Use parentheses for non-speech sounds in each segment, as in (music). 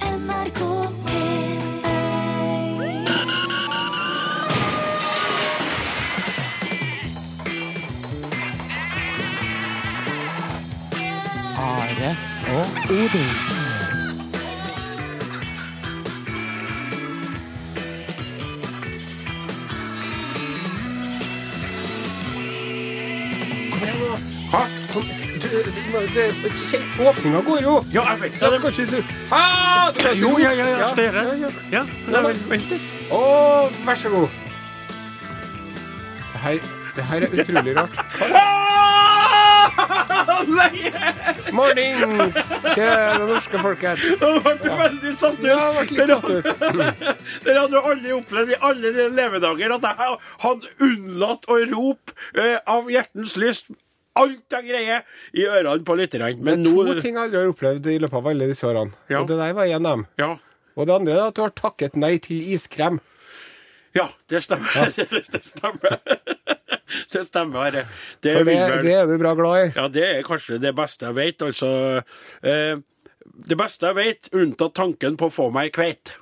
NRK P1 Are og Odin. Hæ? Kom, s- du- du- du- det- det- Åpninga går jo! Ja, jeg vet Jeg det. skal ikke si ah, du kan si Jo, ja, ja, ja, ja, flere. ja, ja. Ja, det er vel- veldig. Å, vær så god. Det her, det her er utrolig rart. Mornings til det norske folket. Det ble veldig satt ut. Ja, jeg ble litt Dere- satt ut. Dere hadde jo aldri opplevd i alle dine levedager at jeg hadde unnlatt å rope eh, av hjertens lyst alt jeg greier i ørene på lytterne. Men To nå ting jeg aldri har opplevd i løpet av alle disse årene. Ja. Og det der var en av dem. Ja. Og det andre er at du har takket nei til iskrem. Ja, det stemmer. (laughs) det stemmer. (laughs) det stemmer. Are. Det, For det, vil vel- det er du bra glad i. Ja, det er kanskje det beste jeg vet, altså. Eh, det beste jeg vet, unntatt tanken på å få meg kveit.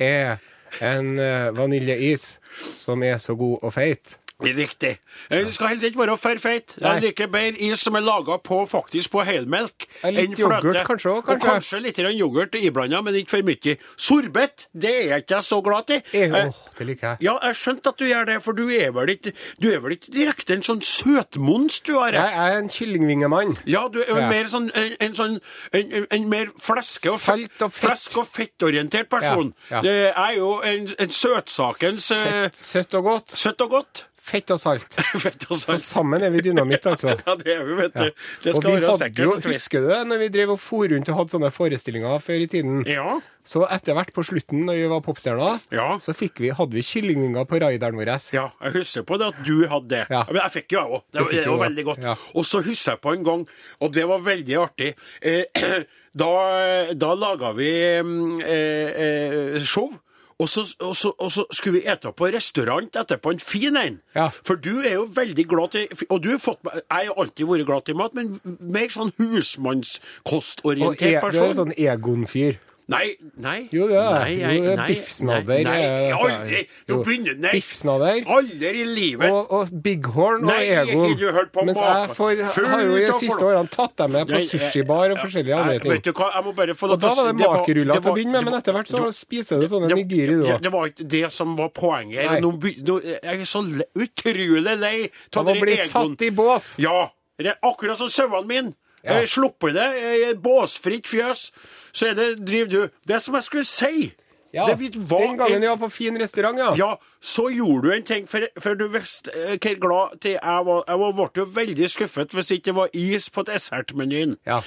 Er en eh, vaniljeis som er så god og feit. Riktig. Eh, Det skal helst ikke være for feit. Nei. Jeg liker bedre is som er laga på faktisk på helmelk Ja, litt enn fløte. yoghurt kanskje også, Og kanskje. kanskje litt grann yoghurt iblanda, men ikke for mye. Sorbett, det er jeg ikke så glad i. Jeg, Eh, åh, det liker jeg. ja, jeg skjønte at du gjør det, for du er vel ikke, du er vel ikke direkte en sånn søtmons, du, Are? Jeg er en kyllingvingemann. Ja, du er jo Ja. mer sånn, en, en sånn en, en- en mer fleske og Salt og fett. flesk- og fettorientert person. Ja, ja. Det er jo en, en søtsakens eh, Søtt, søtt og godt. søtt og godt. (laughs) Fett og salt. Fett og Så salt. sammen er vi dynamitt, altså. Ja, det er vi, vet du. (laughs) Det Og skal vi hadde være jo, sikkert. vet Husker du det, når vi drev og for rundt og hadde sånne forestillinger før i tiden? vi. Ja. Så etter hvert på slutten, når vi var popstjerner, Ja. så fikk vi, hadde vi kyllingvinger på raideren vår. Ja, jeg husker på det at du hadde det. Ja. Men jeg fikk jo jeg òg. Det, var- fikk det var jo, ja. veldig godt. Ja. Og så husker jeg på en gang, og det var veldig artig. Eh, (clears throat) da da laga vi mm, eh, eh, show. Og så, og, så, og så skulle vi ete på restaurant etterpå, en fin en. Ja. For du er jo veldig glad til Og du har fått meg Jeg har alltid vært glad til mat, men mer sånn Og e, husmannskostorientert du er person. en sånn Egon-fyr. Nei, nei. Jo, det er det. Nei, Jo, nei, det er nei, biffsnadder, Nei, nei, eh, aldri. Nå jo. begynner Nei. Biffsnadder. Aldri i livet. Og, og Bighorn og Nei, Egon. ikke du hørt på Mens jeg maken. får, Fullt har jo i de av siste folk. årene tatt deg med på Jeg- jeg- sushibar og ja, forskjellige jeg- andre ting. Vet du hva, jeg må bare få lov Og da var det å si- makeruller det til å var- begynne med, men det etter var- hvert så spiser du sånne det- nigiri, du ja, òg. Det var ikke det som var poenget. Nei. Nå, by- nå, jeg er så le, utrolig lei Av å bli satt i bås. Ja. Det er akkurat som sauene mine. Ja. Jeg Slipper det eh, i et båsfritt fjøs, så er det, driver du Det som jeg skulle si Ja, det vi- hva den er- gangen jeg var på fin restaurant, ja. ja, så gjorde du en ting, for, for du visste eh, hvor glad til jeg var. Jeg var- ble jo veldig skuffet hvis ikke det var is på dessertmenyen. Ja.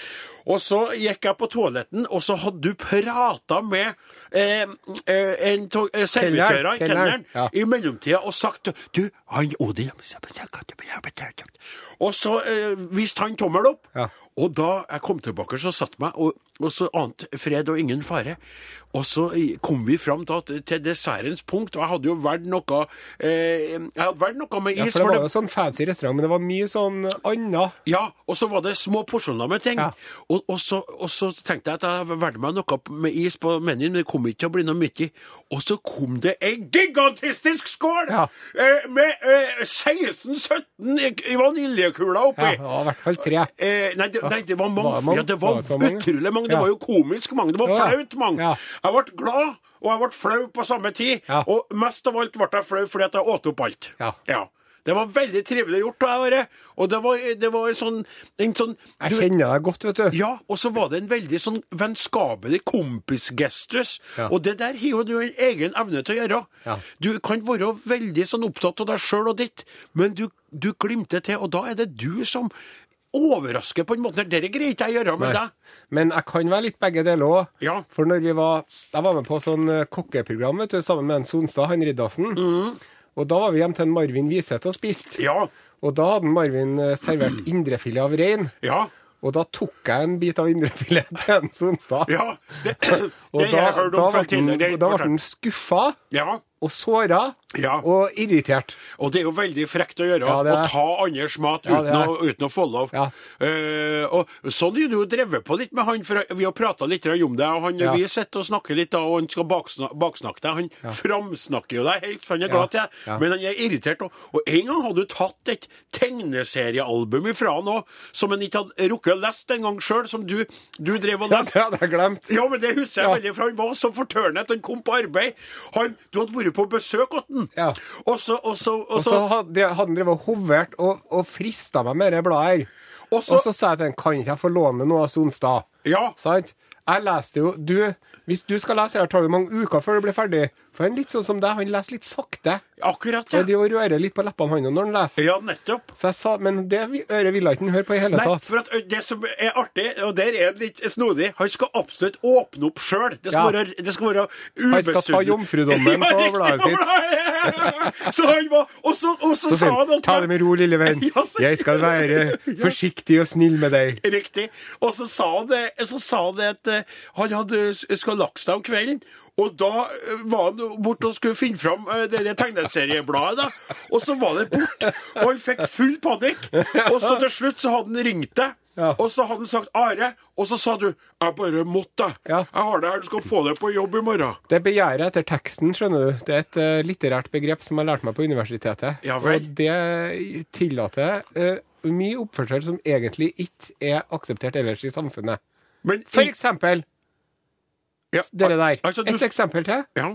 Og så gikk jeg på toaletten, og så hadde du prata med eh, eh, en av eh, Kelneren, kelneren, servitørene, kelneren, ja. i mellomtida og sagt Du, han Odin Og så eh, viste han tommel opp. Ja. Og da jeg kom tilbake, så satt meg, og, og så ante fred og ingen fare. Og så i- kom vi fram da, til til dessertens punkt, og jeg hadde jo valgt noe eh, Jeg hadde valgt noe med is. Ja, for det var jo sånn fancy restaurant, men det var mye sånn anna. Ja, og så var det små porsjoner med ting. Ja. Og, og, så, og så tenkte jeg at jeg valgte meg noe med is på menyen, men det kom ikke til å bli noe mye. Og så kom det ei gigantistisk skål Ja. eh, med eh, 16-17 i- i vaniljekuler Ja, oppi. det var i hvert fall tre. Eh, nei, det, nei, det var mange. Var det mange? Ja, det var, Var det så mange? utrolig mange. Det Ja. var jo komisk mange. Det var Ja, ja. flaut mange. Ja. Jeg ble glad, og jeg ble flau på samme tid. Ja. Og mest av alt ble jeg flau fordi at jeg åt opp alt. Ja. Det var veldig trivelig gjort. da, Are. Og det var, det var en sånn, en sånn Jeg du- kjenner deg godt, vet du. ja, og så var det en veldig sånn vennskapelig kompisgestus. Ja. Og det der har jo du en egen evne til å gjøre. Ja. Du kan være veldig sånn opptatt av deg sjøl og ditt, men du, du glimter til, og da er det du som overrasker på en måte. Det greier ikke jeg å gjøre med Nei. deg. Men jeg kan være litt begge deler òg. Ja. For når vi var Jeg var med på sånn eh, kokkeprogram vet du, sammen med en Sonstad, han Riddarsen. Og da var vi hjemme til en Marvin Wiseth og spiste. Mm. Ja, Og da hadde Marvin eh, (clears throat) servert indrefilet av rein. ja, Og da tok jeg en bit av indrefilet (laughs) til en Sonstad. ja. Det, det Og har da, jeg hørt da om fra ble han- tidligere. da ble han skuffa Ja, og såra. Ja. og irritert. Og det er jo veldig frekt å gjøre, Ja, det er å det. ta andres mat Ja, uten, det er å, uten å få lov. Ja. Eh, og sånn er det jo drevet på litt med han, for vi har prata litt om det. og han, Ja. Vi sitter og snakker litt, da, og han skal baksna, baksnakke deg. Han framsnakker jo deg helt, for han er Ja. glad til deg, Ja. men han er irritert. Og, og en gang hadde du tatt et tegneseriealbum ifra han òg, som han ikke hadde rukket å lese en gang sjøl, som du, du drev og Ja, leste. det hadde jeg glemt. (laughs) Ja, men det husker jeg Ja. veldig, for han var så fortørnet. Han kom på arbeid. Han, du hadde vært på besøk hos han. Ja. Og så, og så, og Og så så, hadde hadde han drevet og hovert og, og frista meg med det bladet her. og Og så, så sa jeg til han kan ikke jeg få låne noe av Sonstad. Ja. Sant? Jeg leste jo du, Hvis du skal lese det her, tar det mange uker før det blir ferdig. For han er litt sånn som deg, han leser litt sakte. akkurat, Og ja. driver og rører litt på leppene han også når han leser. Ja, nettopp. Så jeg sa, Men det vi- øret ville ikke han høre på i hele Nei, tatt. for at ø, det som er artig, og der er han litt snodig, han skal absolutt åpne opp sjøl. Det, skal Ja. være- det skal være Han skal ubesudlet. ta jomfrudommen (laughs) på bladet sitt. Så han var Og så, og så, Så sa sier han han ta det med ro, lille venn. (laughs) Ja, så- Jeg skal være (laughs) Ja. forsiktig og snill med deg. Riktig. Og så sa han det, så sa han det at eh, han hadde s- skal lagt seg om kvelden. Og da eh, var han borte og skulle finne fram eh, det der tegneseriebladet, da. Og så var det bort. Og han fikk full panikk. Og så til slutt så hadde han ringt deg. Ja. Og så hadde han sagt 'Are', og så sa du 'Jeg bare måtte, jeg. Ja. Jeg har det her, du skal få det på jobb i morgen'. Det begjæret etter teksten, skjønner du. Det er et eh, litterært begrep som jeg lærte meg på universitetet. Ja vel. Og det tillater eh, mye oppførsel som egentlig ikke er akseptert ellers i samfunnet. Men For eksempel ja, dere der. Altså, du, Et eksempel til. ja.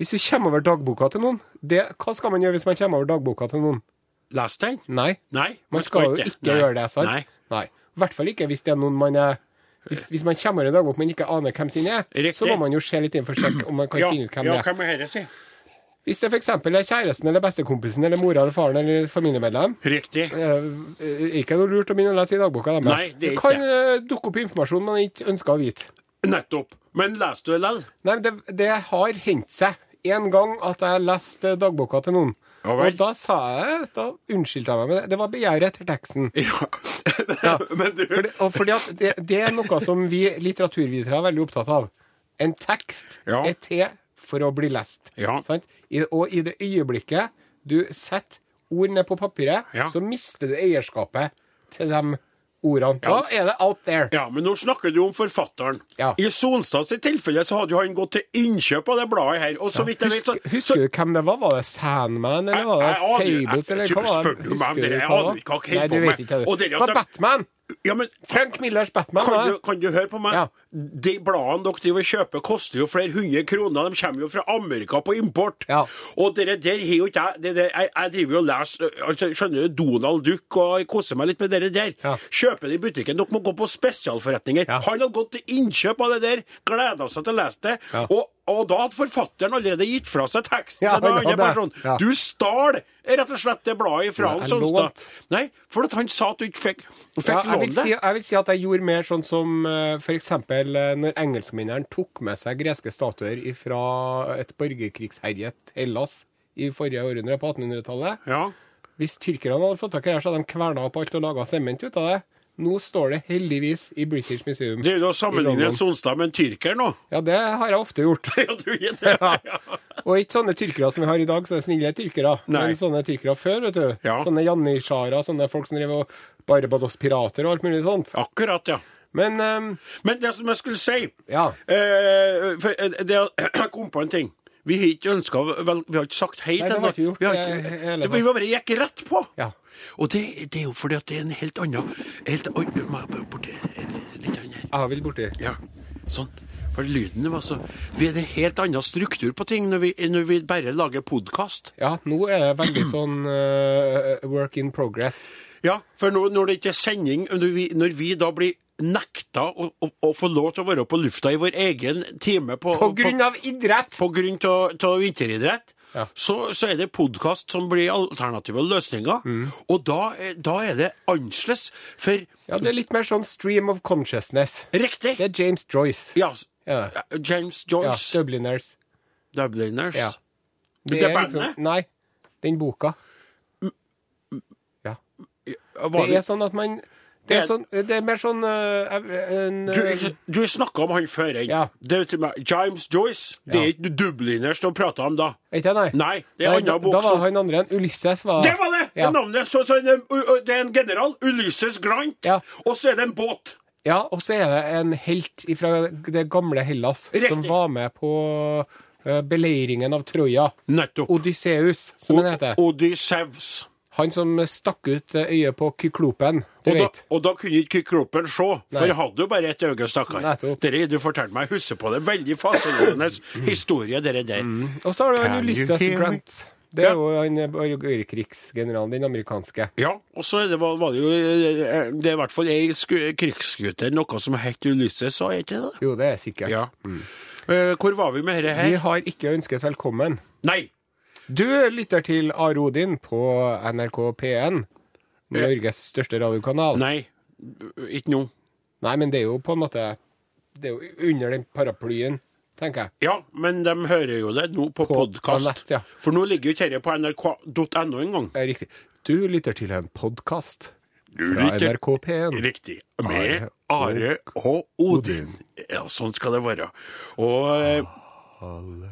Hvis du kommer over dagboka til noen, det, hva skal man gjøre hvis man kommer over dagboka til noen? Les den? Nei. Nei. Man skal jo ikke gjøre det, altså. sant? Nei. Nei. I hvert fall ikke hvis det er noen man er hvis, hvis man kommer over en dagbok man ikke aner hvem sin er, Riktig. så må man jo se litt inn for å sjekke om man kan Ja, finne ut hvem ja, det er. hvem er dette? Hvis det f.eks. er kjæresten eller bestekompisen eller mora eller faren eller familiemedlem Riktig. eh, eh, ikke noe lurt å begynne å lese i dagboka deres. Nei, det er du ikke kan det. eh, dukke opp informasjon man ikke ønsker å vite. Nettopp. Men leser du likevel? Nei, men det, det har hendt seg en gang at jeg leste dagboka til noen. Ja vel. og da sa jeg Da unnskyldte jeg meg, men det- det var begjæret etter teksten. Ja. (laughs) Men du Fordi, og fordi at det, det er noe som vi litteraturvitere er veldig opptatt av. En tekst Ja. er til for å bli lest. Ja. Sant? I, og i det øyeblikket du setter ord ned på papiret, Ja. så mister du eierskapet til de ordene. Da er det out there. Ja, men nå snakker du om forfatteren. Ja. I Sonstad sitt tilfelle så hadde jo han gått til innkjøp av det bladet her, og så vidt jeg vet så, Husker, husker du hvem det var? Var det Sandman, eller var det Jeg- jeg aner- Fables, eller jeg- hva var det? spør du meg om Husker det? Jeg hva aner var? ikke hva jeg holder Nei, på du med. vet ikke Og det. det er Det at var de- Batman! Ja, men Frank Millers Batman. var kan det. du, kan du høre på meg? Ja. De bladene dere driver og kjøper, koster jo flere hundre kroner. De kommer jo fra Amerika på import. Ja. Og dere der har jo ikke jeg det der, jeg, jeg driver jo og leser øh, altså, Skjønner du, Donald Duck og jeg koser meg litt med dere der. Ja. Kjøper det i butikken. Dere må gå på spesialforretninger. Ja. Han hadde gått til innkjøp av det der, gleda seg til å lese det. Ja. Og, og da hadde forfatteren allerede gitt fra seg teksten Ja, til en han annen hadde. person. Ja. Du stjal rett og slett det bladet fra Nei, han jeg Sonstad. lånte. Nei, for at han sa at du ikke fikk, fikk Ja, jeg, låne vil det. si, jeg vil si at jeg gjorde mer sånn som eh, for eksempel eh, når engelskmennene tok med seg greske statuer fra et borgerkrigsherjet Hellas i forrige århundre, på 1800-tallet. Ja. Hvis tyrkerne hadde fått tak i det, her, så hadde de kverna opp alt og laga sement ut av det. Nå står det heldigvis i British Museum. Det er jo å i sammenligne London. Sonstad med en tyrker nå. (laughs) Ja, det har jeg ofte gjort. Ja, du gjør det. Ja. Og ikke sånne tyrkere som vi har i dag, sånne snille tyrkere. Nei. Men sånne tyrkere før, vet du. Ja. Sånne janitsjarer, sånne folk som driver og Barbados-pirater og alt mulig sånt. Akkurat, ja. Men ehm, Men det som jeg skulle si Ja. eh, for, eh, det, (clears throat) Jeg kom på en ting. Vi har ikke ønska vel, Vi har ikke sagt hei Nei, til det har noen. ikke vi gjort, Vi, har eh, ikke- hele det- vi bare gikk rett på. Ja. Og det, det er jo fordi at det er en helt annen helt, Oi, nå må jeg bare borti litt annet her. jeg vil borti Ja, sånn. For lyden var så Vi er en helt annen struktur på ting når vi, når vi bare lager podkast. Ja, nå er det (clears throat) veldig sånn eh, work in progress. Ja, for når, når det ikke er sending, når vi, når vi da blir nekta å, å, å få lov til å være på lufta i vår egen time på, På grunn av idrett! på grunn av av vinteridrett, Ja. så, så er det podkast som blir alternative løsninger. Mm. Og da, er- da er det annerledes. For Ja, det er litt mer sånn stream of consciousness. riktig Det er James Joyce. Ja, s- Ja. James Ja, Joyce, Dubliners. Dubliners. Ja. Det er bandet? liksom- nei, den boka. Ja. Var Det det, er sånn at man Det er, sånn, det er mer sånn eh, ev- en, eh, Du, du snakka om han før. jeg. Ja. Det, vet du meg, James Joyce. Det Ja. er ikke dubliners du prata om da. Vet jeg, nei. Nei, det er da, annen bok Da var som- han andre en. Ulysses var Det var det! Det Ja, er navnet. Så, så, det er en- ø- ø- det er en general. Ulysses Grant. Ja. Og så er det en båt. ja og så er det en helt fra det gamle Hellas som Riktig. var med på eh, beleiringen av Troja. Nettopp. Odysseus, som han heter. Odyssevs. Han som stakk ut eh, øyet på kyklopen, du Og da, vet. og da kunne ikke kroppen se, Nei. for jeg hadde jo bare et øye, stakkar. Nettopp. Mm. Dere, du fortalte meg, jeg husker på det. Veldig fascinerende (clears throat) historie, dere der. Og så har du han Can you Ulysses hear me? Grant. Det er Ja. jo han eh, borgerkrigsgeneralen, den amerikanske. Ja, og så er det, var, var det jo eh, Det er i hvert fall ei sku- krigsskute, noe som het Ulysses, sa jeg ikke det? Jo, det er sikkert. Ja. Eh, hvor var vi med dette her? Vi har ikke ønsket velkommen. Nei! Du lytter til Are Odin på NRK P1, Norges største radiokanal. Nei. Nei. Ikke nå. men det er jo på en måte Det er jo under den paraplyen, tenker jeg. Ja, men de hører jo det nå På- på, på podkast. nett, ja. For nå ligger jo ikke dette på nrk.no engang. Det er riktig. Du lytter til en podkast Du fra lytter- NRK P1. Riktig. Med Are Are og Odin. Ja, sånn skal det være. Og eh,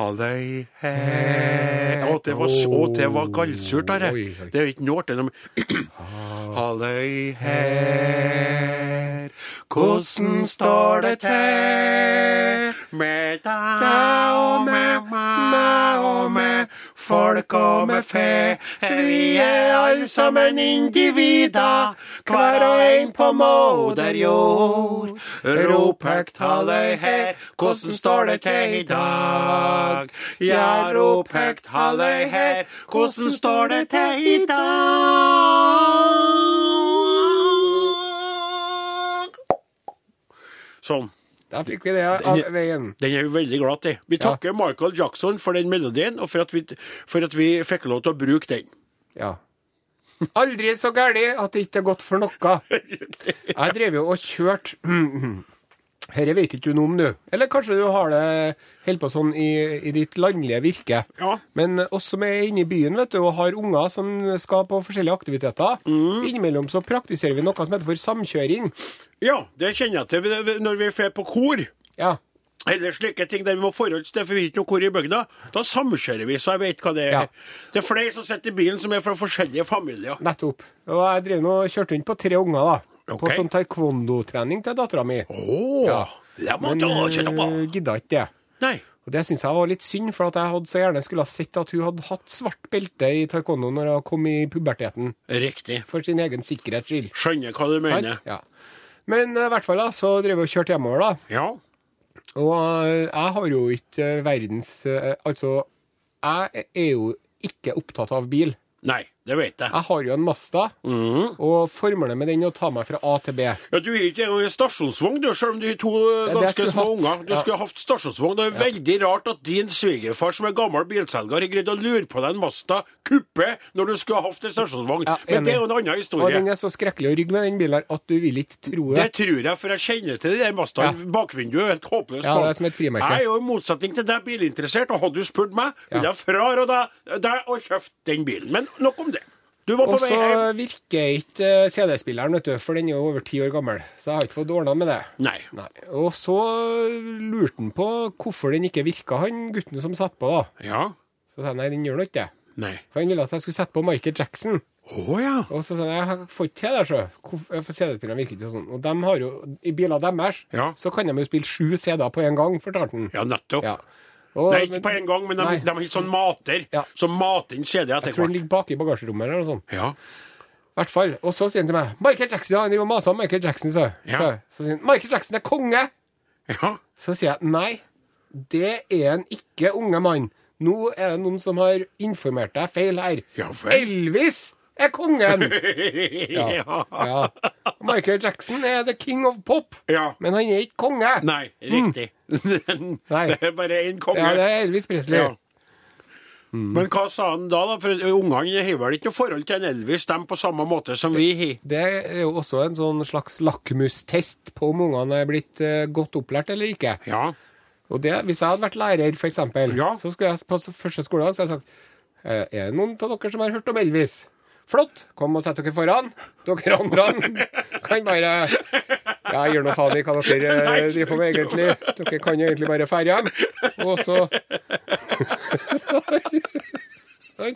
Halløy hei Å, det var, s- å, det var gallsurt, Are. Oi, oi. Det er jo ikke noe artig. når- (clears throat) Halløy her, hvordan står det til med deg og med meg og med folk og med fe? Vi er alle sammen individer, hver og en på moder jord. Rop høyt halløy her, hvordan står det til i dag? Ja, rop høyt halløy her, hvordan står det til i dag? Sånn. Da fikk vi det av veien. Den er vi veldig glad i. Vi takker Michael Jackson for den melodien, og for at, vi, for at vi fikk lov til å bruke den. Ja. Aldri så gæli at det ikke er godt for noe. Jeg drev jo og kjørte (clears throat) Dette vet ikke du noe om, du. Eller kanskje du har det helt på sånn i, i ditt landlige virke. Ja. Men oss som er inne i byen vet du, og har unger som skal på forskjellige aktiviteter, Mm. innimellom så praktiserer vi noe som heter for samkjøring. Ja, det kjenner jeg til Vi- vi- når vi er på kor. Ja. Eller slike ting der vi må forholds til, for vi har ikke noe kor i bygda. Da samkjører vi, så jeg vet hva det er. Ja. Det er flere som sitter i bilen som er fra forskjellige familier. Nettopp. Og jeg drev nå og kjørte rundt på tre unger, da. På Ok. sånn taekwondo-trening til dattera mi. Å! Det må Men du ha kjent på. øh, gidda ikke det. eh, Nei. Og Det syns jeg var litt synd, for at jeg hadde så gjerne skulle ha sett at hun hadde hatt svart belte i taekwondo når hun kom i puberteten, Riktig. for sin egen sikkerhets skyld. Skjønner hva du mener. Sant? Ja. Men eh, i hvert fall da, så drev jeg og kjørte hjemover, da. Ja. Og eh, jeg har jo ikke eh, verdens eh, Altså, jeg er jo ikke opptatt av bil. Nei, det vet jeg. Jeg har jo en Mazda, Mhm. og formålet med den er å ta meg fra A til B. Ja, Du er ikke engang en stasjonsvogn, du, selv om du har to eh, det ganske jeg skulle små hatt. unger. Du Ja. skulle hatt stasjonsvogn. Det er veldig rart at din svigerfar, som er gammel bilselger, har greid å lure på deg en Mazda kuppe når du skulle ha hatt en stasjonsvogn. Ja, enig. Men det er jo en annen Og historie. den er så skrekkelig å rygge med, den bilen her, at du vil ikke tro det. Det tror jeg, for jeg kjenner til det der Mazdaen. Ja. Bakvinduet er helt håpløst. Ja, bak. det er som et frimerke. Jeg er jo i motsetning til deg bilinteressert, og hadde du spurt meg, ville Ja. jeg fraråda deg å kjøpe den bilen. Men nok om det. Du var på Og vei hjem. så virker ikke eh, CD-spilleren, vet du, for den er jo over ti år gammel. Så jeg har ikke fått ordna med det. Nei. Nei. Og så lurte han på hvorfor den ikke virka, han gutten som satt på, da. Ja. Så sa jeg nei, den gjør nå ikke det. Nei. For han ville at jeg skulle sette på Michael Jackson. Å ja. Og så sa han jeg får ikke til det, sjø. Hvorfor- For CD-spillerne virker ikke sånn. Og de har jo, i biler deres, Ja. så kan de jo spille sju CD-er på en gang, fortalte han. Ja, nettopp. Ja. Og, Nei, ikke på en gang, men de, Nei. de har sånn mater. Ja. Som mater inn kjedet etter Jeg tror den hvert. ligger bak i bagasjerommet eller noe sånt. Ja. (laughs) hvert fall. Og så sier han til meg Michael Jackson, ja, han driver og maser om Michael Jackson, sa jeg. Ja. Så, så sier han Michael Jackson er konge! ja. Så sier jeg nei, det er han ikke, unge mann. Nå er det noen som har informert deg feil her. Ja vel. Elvis er kongen! (laughs) ja. ja. Michael Jackson er the king of pop, Ja. men han er ikke konge. Nei, riktig. Mm. (laughs) Nei. Det er bare én konge. Ja, det er Mm. Elvis Presley. Ja. Men hva sa han da, da? For ungene har vel ikke noe forhold til en Elvis, dem på samme måte som vi har. Det er jo også en sånn slags lakmustest på om ungene er blitt eh, godt opplært eller ikke. Ja. (laughs) Og det, Hvis jeg hadde vært lærer, for eksempel, Ja. så skulle jeg på s- første skoledag så hadde jeg sagt «Eh, Er det noen av dere som har hørt om Elvis? Flott, kom og sett dere foran. Dere andre kan bare Ja, jeg gir nå faen i hva dere (laughs) eh, driver på med, egentlig. Dere kan egentlig bare ferde hjem. Og så Det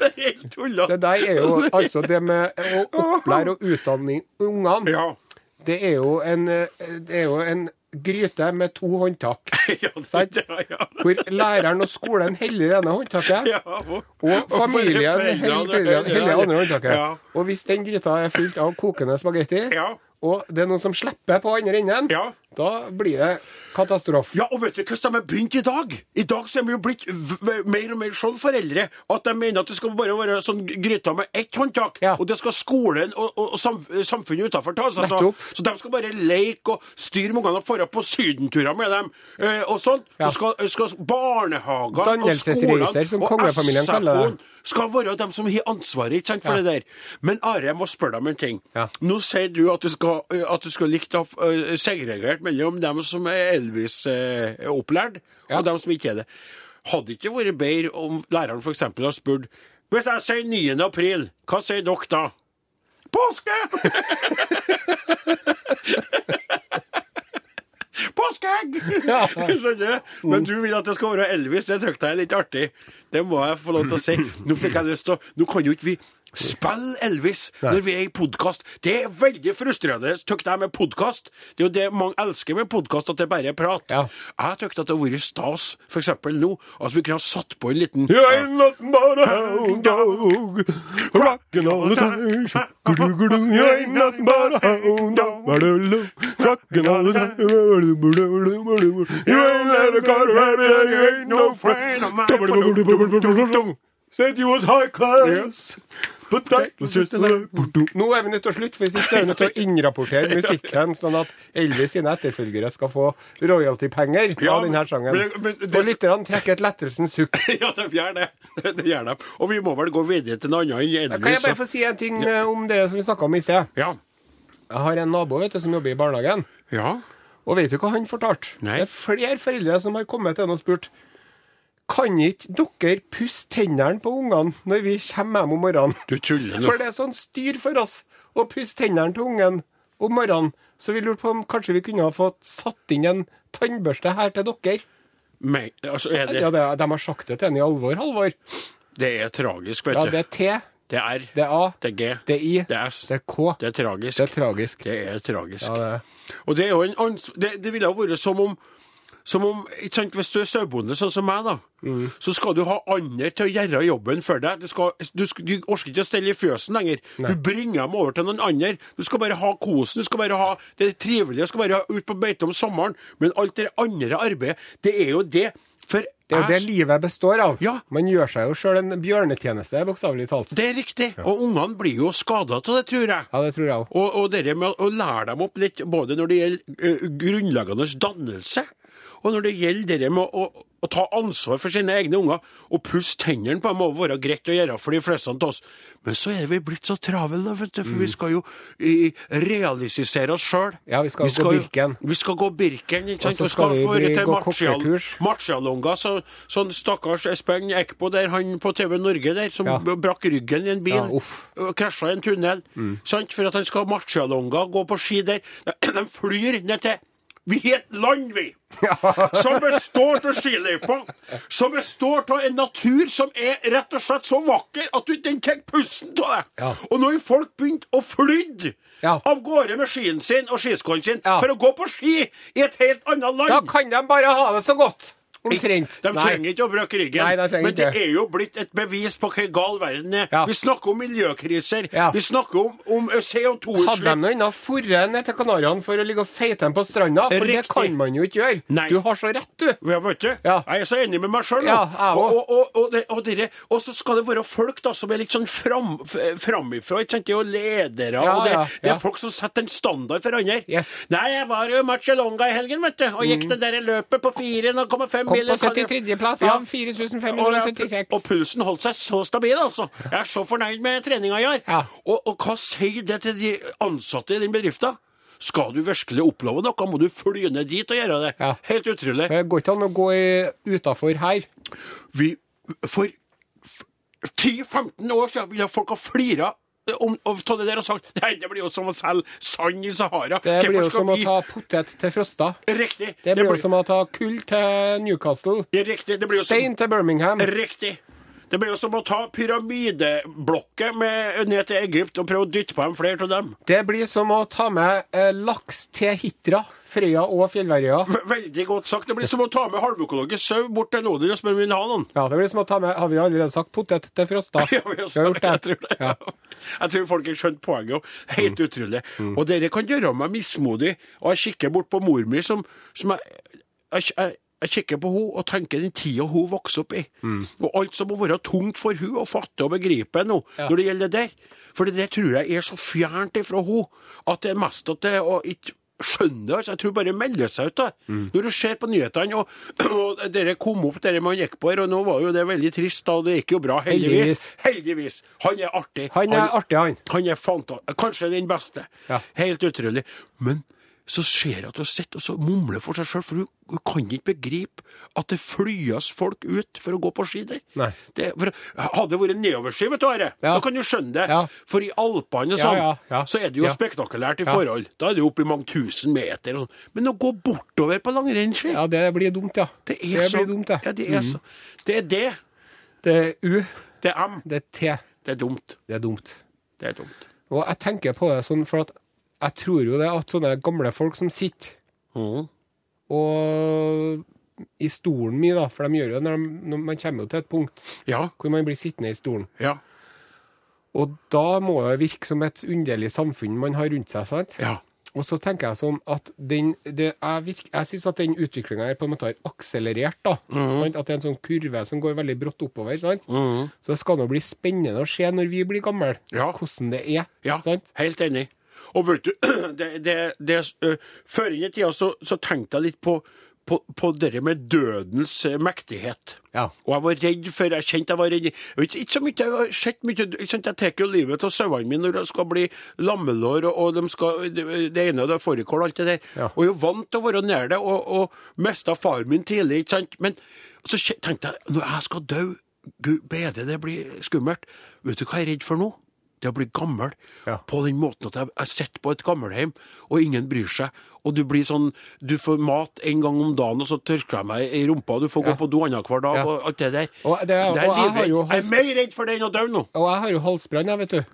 er helt tulla. Det der (laughs) er jo altså det med å opplære og utdanne ungene. Ja. (laughs) Det er jo en, eh, det er jo en gryte med to håndtak. ja, det, Sant? (laughs) ja, ja. Hvor læreren og skolen heller det ene håndtaket, Ja, og, og familien foreldrene- heller foreldrene heller det andre Ja. håndtaket. Og hvis den gryta er fylt av kokende spagetti, Ja. og det er noen som slipper på andre enden, Ja. da blir det katastrofe. Ja, og vet du hvordan de har begynt i dag? I dag så er vi jo blitt v- v- mer og mer sånn foreldre at de mener at det skal bare være sånn gryta med ett håndtak, Ja. og det skal skolen og, og og sam, samfunnet utenfor ta seg av. Nettopp. Så de skal bare leke og styre med ungene og dra på sydenturer med dem eh, og sånn. Ja. Så skal, skal barnehager og Dannelsesreiser, som kongefamilien skolene kaller det. og SFO-en skal være dem som har ansvaret ikke sant, for Ja. det der. Men Are, jeg må spørre deg om en ting. Ja. Nå sier du at du skal, at du skal likt å eh, segregert mellom dem som er Elvis-opplært, Ja. og dem som ikke er det. Hadde det ikke vært bedre om læreren f.eks. har spurt Hvis jeg sier 9. april, hva sier dere da? Påske! (laughs) Påskeegg! Skjønner du? Men du vil at det skal være Elvis. Det trykte jeg er litt artig. Det må jeg få lov til å si. Nå fikk jeg lyst til å Nå kan jo ikke vi spille Elvis når vi er i podkast. Det er veldig frustrerende, tykte jeg, med podkast. Det er jo det mange elsker med podkast, at det bare er prat. Ja. Jeg tykte at det hadde vært stas, f.eks. nå, at vi kunne ha satt på en liten You ain't nothing but a hound dog, rockin' all the time. Gudu-gudu, you ain't nothing but a hound dog, ba-du-du, rockin' all the time. Ba-du-du-du-du-du-du. You ain't never got a rabbit and you ain't no friend of mine. Du-du-du-du-du-du-du-du. Said you was high class. But that was just a lie. Du-du. Nå er vi nødt til å slutte, hvis ikke så er vi nødt til å innrapportere musikken, sånn at Elvis sine etterfølgere skal få royaltypenger Ja, av denne sangen. men- men det- Og lytterne trekker et lettelsens hukk. Ja, de gjør det. De gjør det. Og vi må vel gå videre til noe annet enn Elvis. Kan jeg bare så- få si en ting eh, om det som vi snakka om i sted? Ja. Jeg har en nabo vet du, som jobber i barnehagen. Ja. Og vet du hva han fortalte? Nei. Det er flere foreldre som har kommet til ham og spurt Kan ikke dere pusse tennene på ungene når vi kommer hjem om morgenen? Du tuller nå. For det er sånn styr for oss å pusse tennene til ungen om morgenen. Så vi lurte på om kanskje vi kunne ha fått satt inn en tannbørste her til dere. Men, altså, er det, Ja, det, De har sagt det til henne i alvor, Halvor. det er tragisk, vet Ja, du. det er T, Det er R. det er A, Det er G. det er I, Det er S. det er K. Det er tragisk. Det er tragisk. Det er tragisk. Ja, det er. Og det er jo en ans det, det ville ha vært som om som om, ikke sant, Hvis du er sauebonde, sånn som meg, da, Mm. så skal du ha andre til å gjøre jobben for deg. Du, skal, du, sk- du orker ikke å stelle i fjøsen lenger. Du bringer dem over til noen andre. Du skal bare ha kosen, du skal bare ha det trivelige, du skal bare ha ut på beite om sommeren. Men alt det andre arbeidet, det er jo det. For Det er jo det jeg- livet består av. Ja. Man gjør seg jo sjøl en bjørnetjeneste, bokstavelig talt. det er riktig. Og ungene blir jo skada av det, tror jeg. Ja, det tror jeg òg. Og, og det med å- å lære dem opp litt, både når det gjelder eh, grunnleggende dannelse, og når det gjelder det med å, å, å ta ansvar for sine egne unger, og pusse tennene på dem, må være greit å gjøre for de fleste av oss. Men så er vi blitt så travle, da, vet du, for vi skal jo eh, realisere oss sjøl. Mm. Ja, vi skal gå Birken. Vi skal gå Birken, ikke sant. så Og skal skal vi få bli- til gå Martial- kokkekurs. Martialonga, så, sånn stakkars Espen Eckbo der, han på TV Norge der, som Ja. b- brakk ryggen i en bil Ja, uff. og krasja i en tunnel. Sant? For at han skal ha martialonga, gå på ski der. (clears throat) De flyr ned til Vi er et land, vi! (laughs) Som består av skiløyper. Som består av en natur som er rett og slett så vakker at du, den tar pusten av deg. Ja. Og når folk begynte å fly Ja. av gårde med skien sin og skiskoene sin Ja. for å gå på ski i et helt annet land Da kan de bare ha det så godt! Omtrent. de Nei. trenger ikke å brøkke ryggen. Nei, de trenger men det ikke. er jo blitt et bevis på hvor gal verden er. Ja. Vi snakker om miljøkriser. Ja. Vi snakker om, om Hadde de CO2-utslipp. nå ennå dratt ned til Kanariøyene for å ligge og feite dem på stranda? For det Riktig. kan man jo ikke gjøre. Nei. Du har så rett, du. Ja, vet du. Ja. Jeg er så enig med meg sjøl nå. Ja, jeg og, også. og, og, og, det- og, dere- og så skal det være folk da, som er litt sånn fram, f- framifra. Ikke sant? Det er jo ledere, Ja, og det, ja, det ja. er folk som setter en standard for andre. Yes. Mm. Nei, jeg var jo i Marcialonga i helgen, vet du, og gikk det der løpet på 4,5 Kom på miler. 73. plass Ja. av Og, jeg- 4576. og pulsen holdt seg så stabil, altså. Jeg er så fornøyd med treninga i år. Ja. Og, og hva sier det til de ansatte i den bedriften? Skal du virkelig oppleve noe, må du fly ned dit og gjøre det. Ja. Helt utrolig. Det går ikke an å gå utafor her. Vi, for f- 10-15 år siden ville folk ha flira om, om, av det der og sagt Nei, det blir jo som å selge sand i Sahara. Det Hvorfor blir jo skal som å vi- ta potet til Frosta. Riktig. Det blir jo som å ta kull til Newcastle. Riktig. Det blir jo som Stein til Birmingham. Riktig. Det blir jo som å ta pyramideblokker med, ned til Egypt og prøve å dytte på dem flere av dem. Det blir som å ta med eh, laks til Hitra, Frøya og Fjellverøya. V veldig godt sagt. Det blir som å ta med halvøkologisk sau bort til Lodin og spørre om vi vil ha noen. Ja, det blir som å ta med Har vi allerede sagt potet til Frosta? (laughs) Ja, vi har sagt det. Jeg tror det. Ja. Jeg tror folk har skjønt poenget òg. Helt utrolig. Og dere kan gjøre meg mismodig. Og jeg kikker bort på mor mi, som, som jeg, jeg, jeg jeg kikker på henne og tenker den tida hun vokste opp i. Og alt som må være tungt for hun å fatte og begripe nå, når det gjelder det der. For det der tror jeg er så fjernt ifra henne at det er mest at det og ikke skjønner det. altså. Jeg tror bare det melder seg ut. da. Når du ser på nyhetene, og, (clears throat) og dere kom opp, dere man gikk på her, og nå var jo det veldig trist, da, og det gikk jo bra, heldigvis. Heldigvis. Heldigvis. Han er artig. Han er artig, han. Han er fanta... Kanskje den beste. Ja. Helt utrolig. Men så ser jeg at hun sitter og så mumler for seg sjøl, for hun, hun kan ikke begripe at det flyes folk ut for å gå på ski der. Nei. Det, for, hadde det vært nedoverski, vet du, Are, Ja. da kan du skjønne det. Ja. For i Alpene og Ja, sånn, ja, ja. så er det jo Ja. spektakulært i forhold. Da er det jo oppe i mange tusen meter og sånn. Men å gå bortover på langrennsski, Ja, det blir dumt, ja. det er blir så dumt, det. Mm. Ja, det er så Det er det. Det er U, Det er M. det er T. Det er dumt. Det er dumt. Det er dumt. Og jeg tenker på det sånn, for at jeg tror jo det at sånne gamle folk som sitter Mm. og i stolen min, da, for de gjør jo det når, de, når man kommer jo til et punkt Ja. hvor man blir sittende i stolen. Ja. Og da må det virke som et underlig samfunn man har rundt seg, sant? Ja. Og så tenker jeg sånn at den det er virk, Jeg syns at den utviklinga her på en måte har akselerert, da. Mhm. Sant? At det er en sånn kurve som går veldig brått oppover, sant? Så det skal nå bli spennende å se når vi blir gamle, Ja. hvordan det er, Ja, sant? helt enig. Og vet du, (clears throat) det, det, det, ø, før inn i tida så, så tenkte jeg litt på, på, på det der med dødens ø, mektighet. Ja. Og jeg var redd for Jeg kjente jeg var redd. Jeg vet ikke så mye, jeg har sett mye ikke sant, Jeg tar jo livet av sauene mine når de skal bli lammelår, og, og de skal, det, det ene og det fårikål og alt det der. Ja. Og jeg er jo vant til å være nær det, og, og mista faren min tidlig, ikke sant. Men så kje- tenkte jeg, når jeg skal dø, gud bedre det blir skummelt. Vet du hva jeg er redd for nå? Det å bli gammel. Ja. På den måten at jeg, jeg sitter på et gammelhjem, og ingen bryr seg. Og du blir sånn Du får mat en gang om dagen, og så tørker jeg meg i rumpa, og du får gå på do annenhver dag, Ja. og alt det der. Og det er- jeg og jeg har livredd. jo Jeg er mer redd for det enn å dø nå. Og jeg har jo halsbrann, jeg, vet du.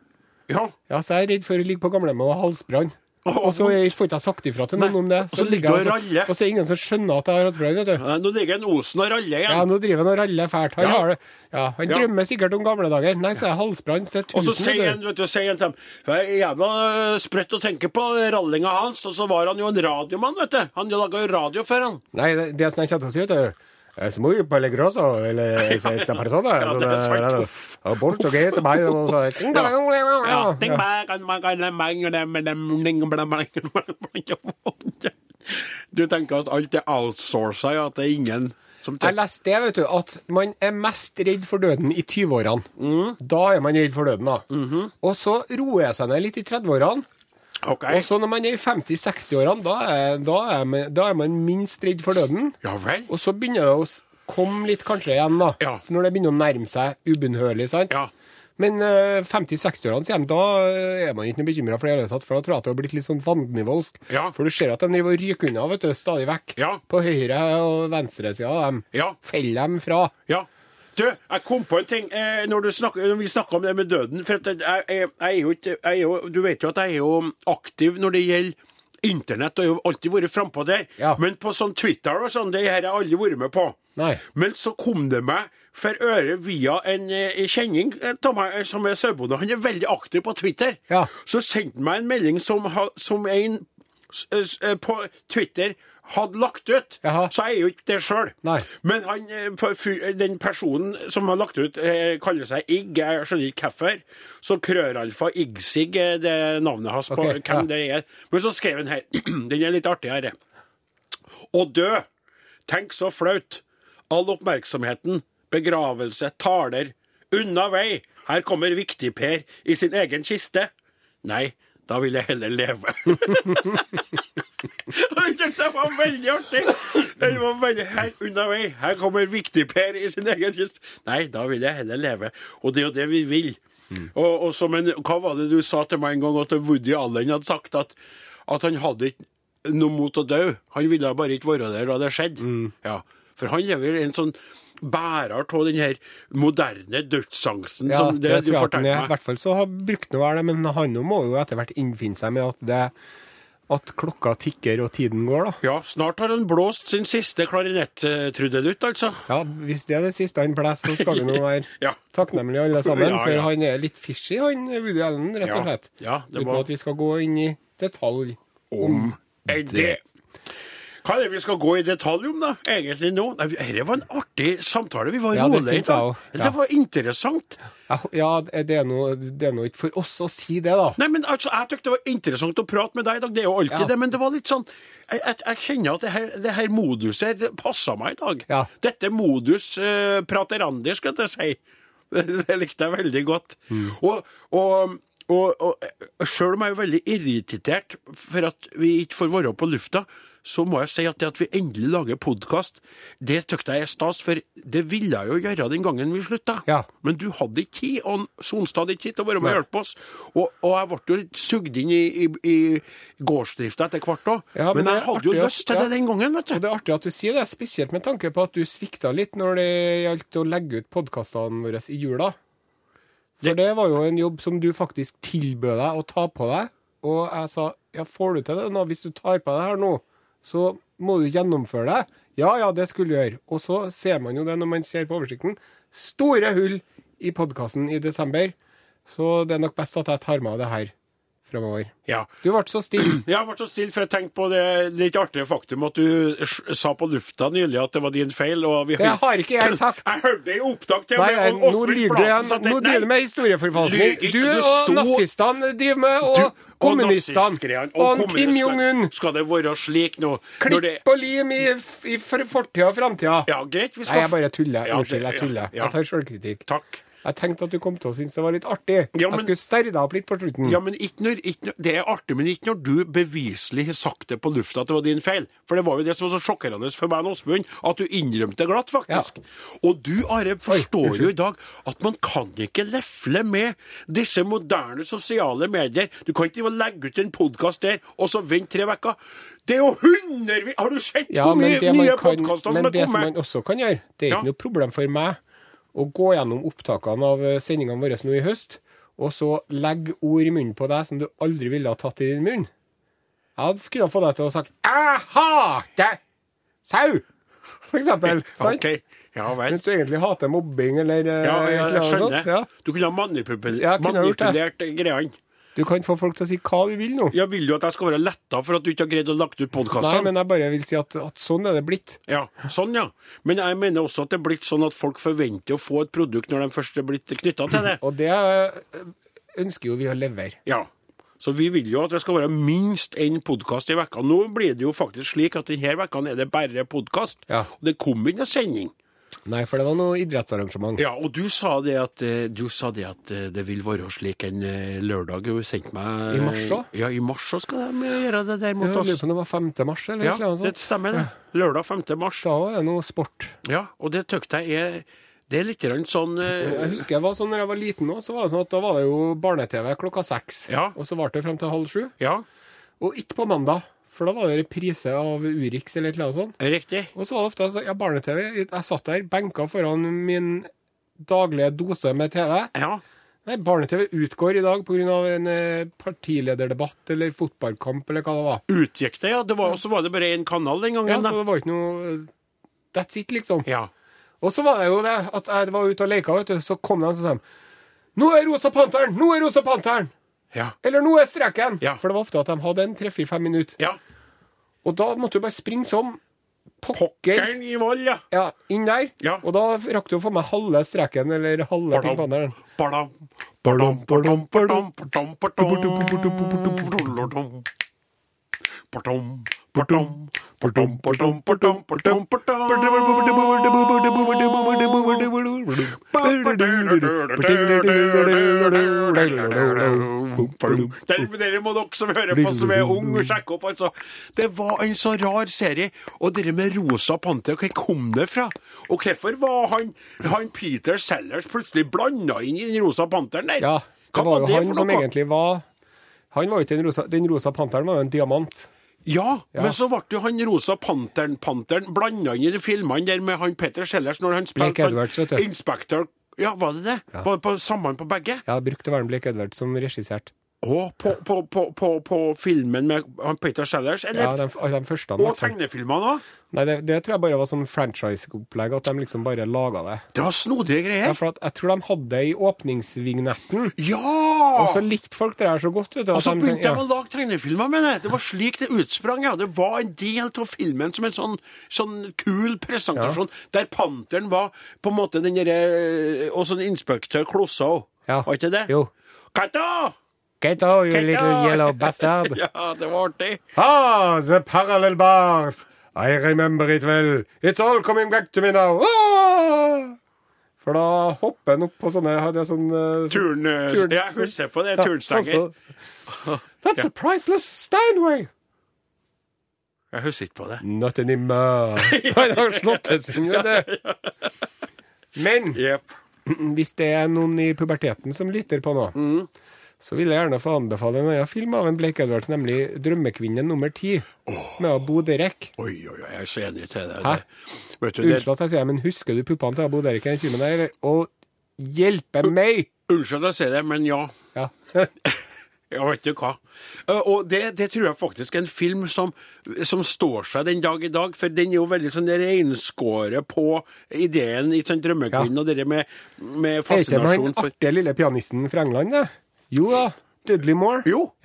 Ja. Ja, så jeg er redd for å ligge på gamlehjemmet og ha halsbrann. Åh, Og så er jeg- får ikke jeg sagt ifra til noen Nei, om det. og så ligger jeg du og raller. Og så er det ingen som skjønner at jeg har halsbrann, vet du. Nei, Nå ligger en Osen og raller igjen. Ja, nå driver han og raller fælt. Han, Ja. har det. Ja, han Ja. drømmer sikkert om gamle dager. Nei, så er jeg halsbrann. Det er tusen, Og så sier vet han du. vet du, sier han til dem Det er jævla øh, sprøtt å tenke på rallinga hans. Og så var han jo en radiomann, vet du. Han laga jo radio før, han. Nei, det, det som jeg kommer til å si, vet du Es muy peligroso, (laughs) eller esta persona. Ja, det er sant. Uff. eh, Og portugis, og meg, og så- Ja. Ja. Ding, bang, and bang, and bang, and bang, and bang, ding, bang, bang, and bang. Du tenker at alt er outsourca, ja, at det er ingen som Jeg tenker leste det, vet du, at man er mest redd for døden i 20-årene. Da er man redd for døden, da. Og så roer jeg seg ned litt i 30-årene. OK. Og så når man er i 50-60-årene, da, er- da, er man- da er man minst redd for døden. Ja vel. Og så begynner det å s- komme litt kanskje igjen, da. Ja. For Når det begynner å nærme seg ubønnhørlig. sant? Ja. Men eh, 50-60-årene, sier de, da eh, er man ikke noe bekymra for det i hele tatt. For da tror jeg at det har blitt litt sånn vannnivoldsk. Ja. For du ser at de driver og ryker unna vet du, stadig vekk. Ja. På høyre- og venstresida av dem. Ja. Feller dem fra. Ja. Du, jeg kom på en ting eh, når, du snakker, når vi snakker om det med døden. For at jeg, jeg, jeg, er jo ikke jeg er jo, Du vet jo at jeg er jo aktiv når det gjelder internett, og jeg har alltid vært frampå der. Ja. Men på sånn Twitter og sånn, det her har jeg aldri vært med på. Nei. Men så kom det meg for øre via en eh, kjenning eh, av meg eh, som er sauebonde. Han er veldig aktiv på Twitter. Ja. Så sendte han meg en melding som, ha- som en s- s- eh, på Twitter hadde lagt ut. Jaha. Så jeg er jo ikke det sjøl. Nei. Men han, eh, på fy- den personen som har lagt ut, eh, kaller seg Igg. Jeg skjønner ikke hvorfor. Så Krøralfa Iggsig er det navnet hans på Ok, hvem ja. det er. Men så skrev han her (clears throat) Den er litt artig, her. Å dø! Tenk så flaut. All oppmerksomheten, begravelse, taler. Unna vei! Her kommer Viktig-Per i sin egen kiste. (laughs) Nei, da vil jeg heller leve. Og (laughs) det tenkte jeg var var veldig artig! Den var veldig her, unna vei. Her kommer Viktig-Per i sin egen kyst. Nei, da vil jeg heller leve. Og det er jo det vi vil. Og, og som en, hva var det du sa til meg en gang, at Woody Allen hadde sagt at, at han hadde ikke noe mot å dø. Han ville bare ikke være der da det skjedde. Mm. Ja. For han er vel en sånn bærer av den her moderne dødsangsten Ja, som det, det tror jeg at du han fortalte er. I meg. hvert fall så har brukt noe av det, men han nå må jo etter hvert innfinne seg med at, det, at klokka tikker og tiden går, da. Ja, snart har han blåst sin siste klarinett-trudelutt, altså. Ja, Hvis det er det siste han blåser, så skal vi nå være (laughs) Ja. takknemlige alle sammen. Ja, ja. For han er litt fishy, han Woody Allen, rett Ja. og slett. Ja, det Uten var- at vi skal gå inn i detalj. om det. Hva er det vi skal gå i detalj om, da? Egentlig nå? Nei, vi- Dette var en artig samtale. Vi var Ja, det rolige i synes jeg dag. også. Ja. Det var interessant. Ja, Ja, det er nå det er nå ikke for oss å si det, da. Nei, men altså, Jeg syntes det var interessant å prate med deg i dag, det er jo alltid Ja. det, men det var litt sånn Jeg, jeg, jeg kjenner at det her, det her moduset her, det passa meg i dag. Ja. Dette modus eh, praterandi, skal jeg si. (laughs) Det likte jeg veldig godt. Mm. Og, og, og, og sjøl om jeg er veldig irritert for at vi ikke får være på lufta, så må jeg si at det at vi endelig lager podkast, det syns jeg er stas, for det ville jeg jo gjøre den gangen vi slutta. Ja. Men du hadde ikke tid, og Sonstad hadde ikke tid til å være med og hjelpe oss. Og, og jeg ble jo litt sugd inn i, i, i gårdsdrifta etter hvert òg. Ja, men, men det jeg er hadde jo artig, lyst til ja. det den gangen, vet Og du. Det er artig at du sier det, spesielt med tanke på at du svikta litt når det gjaldt å legge ut podkastene våre i jula. For det var jo en jobb som du faktisk tilbød deg å ta på deg. Og jeg sa ja, får du til det nå? Hvis du tar på deg det her nå, så må du gjennomføre det. Ja ja, det skulle du gjøre. Og så ser man jo det når man ser på oversikten. Store hull i podkasten i desember. Så det er nok best at jeg tar meg av det her framover. Ja. Du ble så stille. Jeg har vært så stille, for jeg tenkte på det litt artige faktum at du s- sa på lufta nylig at det var din feil. Og vi Det har ikke jeg sagt. Jeg hørte det i opptak til og Nei, med, nei, og nå lyver Åsmund du Flaten igjen. satt Nå helt- driver du med historieforfalskning. Lyver ikke. Du Du og sto- nazistene driver med, Du- og kommunistene. nazistgreiene, Og kommunist- Kim Jong-un. Skal det være slik nå? når det- Klipp og lim i, f- i for- fortida og framtida. Ja, greit, vi skal Nei, jeg bare tuller. Ja, Unnskyld, det- jeg ja, tuller. Jeg ja. tar sjølkritikk. Takk. Jeg tenkte at du kom til å synes det var litt artig. Ja, men- Jeg skulle sterre deg opp litt på slutten. Ja, men ikke når, ikke når, Det er artig, men ikke når du beviselig har sagt det på lufta at det var din feil. For det var jo det som var så sjokkerende for meg og Åsmund, at du innrømte glatt, faktisk. Og du, Are, forstår jo i dag at man kan ikke lefle med disse moderne sosiale medier. Du kan ikke drive og legge ut en podkast der, og så vente tre uker. Det er jo hundrevis Har du sett Ja, hvor men mye det man, nye kan, podkaster som men er det som kommet? man også kan gjøre, det er Ja. ikke noe problem for meg å gå gjennom opptakene av eh, sendingene våre nå i høst, og så legge ord i munnen på deg som du aldri ville ha tatt i din munn. Jeg hadde kunne få deg til å sagt 'Jeg hater sau', for eksempel. sant? OK. (laughs) Ja vel. Mens du egentlig hater mobbing eller eh, Ja, et eller jeg, jeg annet sånt, skjønner. ja. Du kunne ha manipul Ja, jeg kunne ha gjort det. manipulert greiene. Du kan få folk til å si hva du vil nå. Jeg vil jo at jeg skal være letta for at du ikke har greid å lagt ut Nei, podkasten. men jeg bare vil si at, at sånn er det blitt. Ja, sånn, ja. Men jeg mener også at det er blitt sånn at folk forventer å få et produkt når de først er blitt knytta til det. Og det eh, ønsker jo vi å levere. Ja. Så vi vil jo at det skal være minst én podkast i vekka. Nå blir det jo faktisk slik at denne vekka er det bare podkast. Ja. Og det kom ikke noen sending. Nei, for det var noe idrettsarrangement. Ja, og du sa det at, eh, du sa det, at eh, det vil være slik en eh, lørdag. Du sendte meg I mars også? Ja, i mars så skal de gjøre det der mot Jeg lurer oss. på om det var 5. mars, eller Ja, noe det sånt. stemmer, det. Lørdag 5. mars. Da var det noe sport. Ja, og det tøkte jeg er Det er litt grann sånn eh, Jeg husker jeg var sånn, når jeg var liten nå, så var det sånn at da var det jo barne-TV klokka seks. Ja. Og så varte det frem til halv sju. Ja, Og ikke på mandag, for da var det reprise av Urix eller et eller annet sånt. riktig. Og så var det ofte altså, ja, barne-TV. Jeg satt der, benka foran min daglige dose med TV. Ja. Nei, barne-TV utgår i dag pga. en eh, partilederdebatt eller fotballkamp eller hva det var. Utgikk det, ja. Det var, og så var det bare én kanal den Ja, gangen. så da. det var ikke noe eh, That's it, liksom. Ja. Og så var det jo det at jeg var ute og leka, vet du. Så kom de og sa de, Nå er Rosa Panteren! Nå er Rosa Panteren! Ja. Eller nå er streken! Ja. For det var ofte at de hadde en tre-fire-fem minutter. ja. Og da måtte du bare springe som pokker Gæren i vold, ja. ja, inn der. Ja. Og da rakk du å få med halve streken eller halve Pink Panteren. Badam, badam, badam, badam, badam, badam. Badam, badam, badam, badam, badam, badam, badam. Den, dere må dere som hører på som er ung, sjekke opp. altså. Det var en så rar serie. Og det med Rosa Panter, hvor kom det fra? Og hvorfor var han, han Peter Sellers plutselig blanda inn i den Rosa Panteren der? Ja, Hva det var jo for han som noe? egentlig var Han var jo ikke den rosa, den rosa panteren, var jo en diamant. Ja, men så ble jo han Rosa Panteren, Panteren blanda inn i de filmene der med han Peter Sellers når han spilte Blake sånn Edwards, vet du. Inspector Ja, var det det? På, på Sammen på begge? Jeg har brukt å være Blake Edwards som regissert. Å, på, på, på, på, på filmen med han Peter Sellers? Ja, Eller? de, de første han og hvert fall. tegnefilmene òg? Nei, det, det tror jeg bare var sånn franchise-opplegg, at de liksom bare laga det. Det var snodige Ja, greier. for at jeg tror de hadde det i åpningsvignetten, Ja! og så likte folk det der så godt. Vet du, at Og så de tenkte, begynte ja. de å lage tegnefilmer med det. Det var slik det utsprang. ja. Det var en del av filmen som en sånn, sånn kul presentasjon, der panteren var på en måte den derre Og sånn inspektør Klossa òg. Ja. Var ikke det? Jo. Katta! Get out, you Get little out! (laughs) yellow bastard. Ja, det var artig. Ah, the parallel bars. I remember it well. It's all coming back to me now. Ah! For da hopper han opp på sånne hadde jeg sånn, eh, sånn Turn, eh, jeg husker på det, turnstenger. altså. That's a priceless Steinway. Jeg husker ikke på det. Not (laughs) anymore. (laughs) Han har slått til sin jo det. Men (clears throat) Jepp. hvis det er noen i puberteten som lytter på nå, Mm. så vil jeg gjerne få anbefale en annen film av en Blake Edwards, nemlig 'Drømmekvinnen nummer ti', med Abo Derek. Oi, oi, oi, jeg er så enig til deg. Hæ? Det. Vet du, det, Unnskyld at jeg sier det, men husker du puppene til Abo Derek i den filmen der? eller? Og hjelpe meg! unnskyld at jeg sier det, men ja. Ja. Ja, vet du hva. Eh, Og det, det tror jeg faktisk er en film som, som står seg den dag i dag, for den er jo veldig sånn reinskåret på ideen i sånn Drømmekvinnen og det der med, med Er ikke med fascinasjon den for artige lille pianisten fra England, da? Jo da. Dudley Moore. Jo. Mm.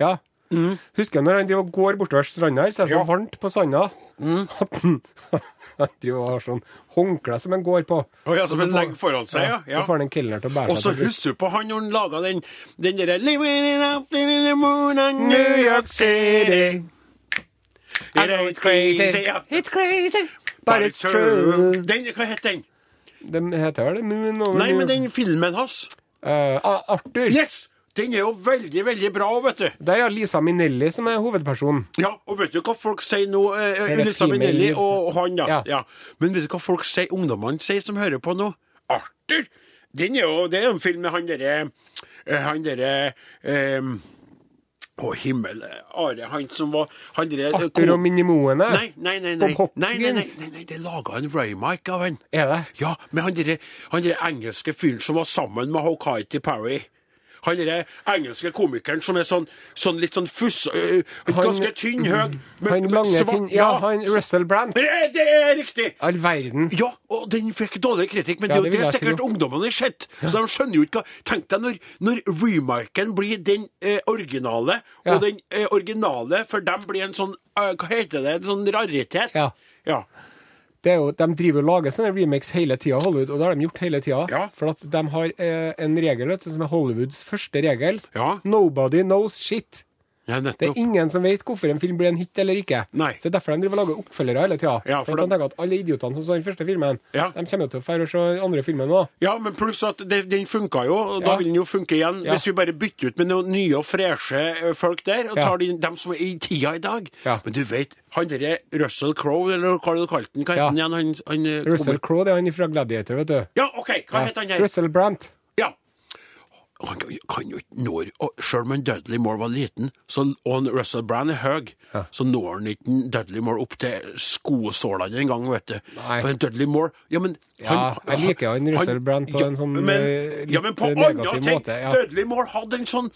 Ja. Husker jeg når han driver og går bortover stranda her, så er det så varmt på sanda Mm. (laughs) at han han driver og har sånn håndkle som han går på. Å ja, Og så som han får- legger foran seg, ja, ja. Så får han en kelner til å bære Og så seg. til- husker du på han når han laga den, den derre Living it up in the moon on New York City. It ain't crazy, yeah, It's crazy, but it's true. Den, hva het den? Den heter vel det Moon over Nei, New- men den filmen hans. Eh, ah, Arthur. Yes! Den er jo veldig, veldig bra, vet du. Der er Lisa Minelli som er hovedpersonen. Ja, og vet du hva folk sier nå? Eh, det Lisa female- Minnelli og han, ja. Ja. ja. Men vet du hva folk sier, ungdommene sier som hører på nå? Arthur! Den er jo, det er jo en film med han derre eh, Han derre eh, Å, himmel Are, han som var han derre eh, Arthur og Minimoene. Nei, nei, nei. nei. Bob nei, nei, nei, Hopkins. nei, nei det laga en Raymike av han. Er det? Ja, men han derre han derre engelske fyren som var sammen med Hokaiti Parry. Han derre engelske komikeren som er sånn, sånn litt sånn fuss... øh, ganske tynn, høg men- Han men lange svart- ting Ja, han Russell Brand. Ja, det er riktig! All verden. Ja, og den fikk dårlig kritikk, men Ja, det, det er jo- det er vil jeg sikkert ungdommene har sett. Så de skjønner jo ikke hva Tenk deg når, når remarken blir den eh, originale, Ja. og den eh, originale for dem blir en sånn eh, Hva heter det? En sånn raritet? Ja. ja. Det er jo, de driver og lager sånne remakes hele tida, Hollywood, og det har de gjort hele tida. Ja. For at de har eh, en regel vet du, som er Hollywoods første regel. Ja. Nobody knows shit. ja, nettopp. Det er ingen som vet hvorfor en film blir en hit eller ikke. Nei. Så det er derfor de driver og lager oppfølgere hele tida. Ja, for for at de- de tenker at alle idiotene som så den første filmen, Ja. de kommer jo til å dra og se den andre filmen nå. Ja, men pluss at det, den funka jo, og Ja. da vil den jo funke igjen Ja. hvis vi bare bytter ut med noen nye og freshe eh, folk der, og Ja. tar de, dem som er i tida i dag. Ja. Men du vet, han derre Russell Crowe, eller hva du kalte han, hva het Ja. han igjen? Han, han, eh, Russell kommer- Crowe, det er han fra Gladiator, vet du. Ja, OK, hva het han her? Russell Brant. Ja. Han kan jo- kan jo ikke nå og Selv om han Dudley Moore var liten, så, og han Russell Brand er høy, så når han ikke en Dudley Moore opp til skosålene engang, vet du. Nei. For en Dudley Moore Ja, men Ja, jeg liker han Russell Brand på en sånn, eh, ja, men litt på negativ andre ting! måte, ja. Dudley Moore hadde en sånn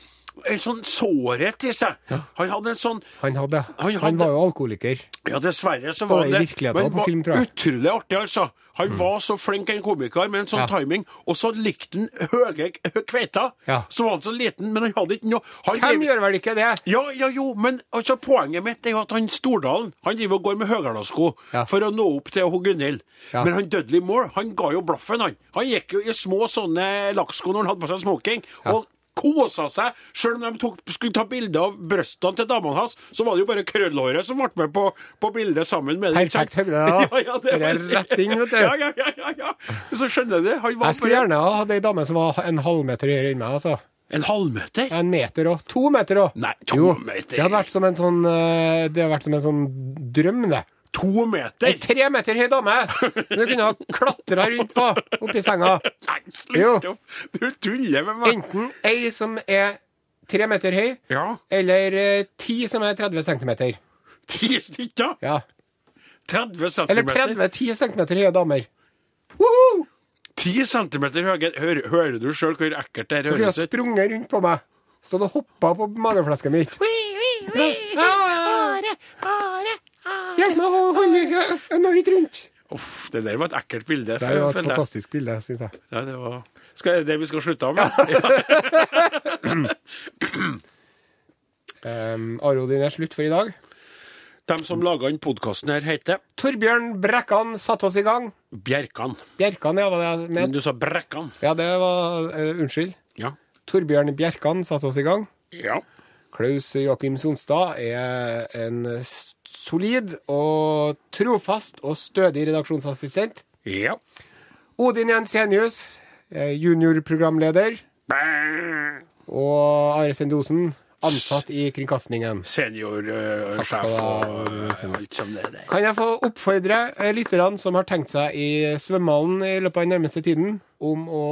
en sånn sårhet i seg. Han hadde en sånn Han hadde. Han Han, hadde- var jo alkoholiker. Ja, dessverre så var i det virkeligheten og på var film, tror jeg. Mm. Utrolig artig, altså. Han var så flink en komiker med en Ja. sånn timing, og så likte han høye hø- kveita. Ja. Så var han så liten, men han hadde ikke noe han Hvem drev- gjør vel ikke det? ja, ja, jo, men altså, poenget mitt er jo at han Stordalen han driver og går med høyhælasko Ja. for å nå opp til hun Gunhild. Ja. Men han Dudley Moore han ga jo blaffen, han. Han gikk jo i små sånne lakksko når han hadde på seg smoking. og Kosa seg, Selv om de tok, skulle ta bilde av brystene til damene hans, så var det jo bare krøllhåret som ble med på, på bildet sammen med den. Perfekt høgde, da. (laughs) Ja, ja, det Det er var- rett inn, vet du. Ja, ja, ja, ja, ja. Så skjønner du det. Han var Jeg skulle bare- gjerne ha hatt ei dame som var en halvmeter høyere enn meg, altså. En halvmeter? En meter og to meter òg. Nei, to meter. Det hadde vært som en sånn, eh, det hadde vært som en sånn drøm, det. To Ei meter? tre meter høy dame du kunne ha klatra rundt på oppi senga. Nei, Jo. slutt opp! Du tuller med meg. Enten ei som er tre meter høy, Ja. eller eh, ti som er 30 cm. Ti stykker? Ja. 30 Eller centimeter? 30-10 cm høye damer. Woohoo! 10 centimeter høye. Hører, hører du sjøl hvor ekkelt det her Du har høres ut? sprunget rundt på meg. Stått og hoppa på mageflesket mitt. Bare, bare, Hjelp meg å holde Norge rundt. Uff, det der var et ekkelt bilde. Det er jo et føler jeg. fantastisk bilde, syns jeg. Ja, det var skal, er det det vi skal slutte av med? Ja. Um, Aro, din er slutt for i dag. De som laga den podkasten her, heter Torbjørn Brekkan satte oss i gang. Bjerkan. Bjerkan, ja, var det jeg Men mente. du sa Brekkan. Ja, det var eh, Unnskyld. Ja. Torbjørn Bjerkan satte oss i gang. ja. Klaus Joakim Sonstad er en s- solid og trofast og stødig redaksjonsassistent. Ja. Odin Jensenius, eh, juniorprogramleder. Og Are Sende Osen, ansatt i Kringkastingen. Takk skal Seniorsjef du ha, eh, og øh, alt som det der. Kan jeg få oppfordre eh, lytterne som har tenkt seg i svømmehallen i løpet av den nærmeste tiden, om å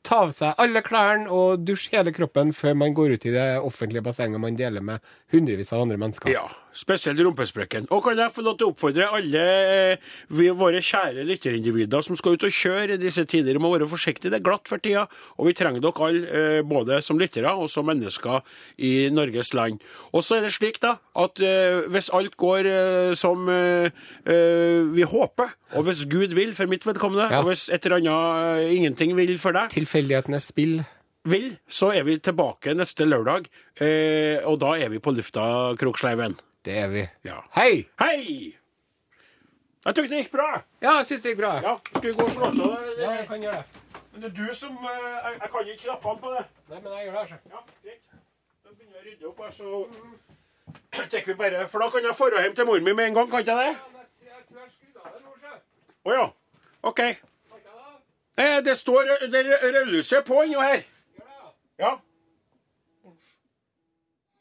ta av seg alle klærne og dusje hele kroppen før man går ut i det offentlige bassenget man deler med hundrevis av andre mennesker? Ja, spesielt rumpesprekken. Og kan jeg få lov til å oppfordre alle eh, vi, våre kjære lytterindivider som skal ut og kjøre i disse tider, om å være forsiktige. Det er glatt for tida, og vi trenger dere alle, eh, både som lyttere og som mennesker i Norges land. Og så er det slik, da, at eh, hvis alt går eh, som eh, eh, vi håper, og hvis Gud vil for mitt vedkommende, Ja. og hvis et eller annet eh, ingenting vil for deg, Tilfeldighetenes spill. vil, så er vi tilbake neste lørdag, eh, og da er vi på lufta, Kroksleiven. Det er vi. Ja. Hei! Hei! Jeg tror det gikk bra. Ja, jeg syns det gikk bra. Ja, skal vi gå og slå av det? jeg kan gjøre det. Men det er du som eh, Jeg, jeg kan ikke knappene på det. Nei, men jeg gjør det, altså. Ja, greit. Da begynner jeg å rydde opp, her, så (clears throat) tar vi bare For da kan jeg dra hjem til mor mi med en gang, kan ikke jeg det? Å ja. OK. Eh, det står rø- det rø- rødlyset på ennå her. Ja.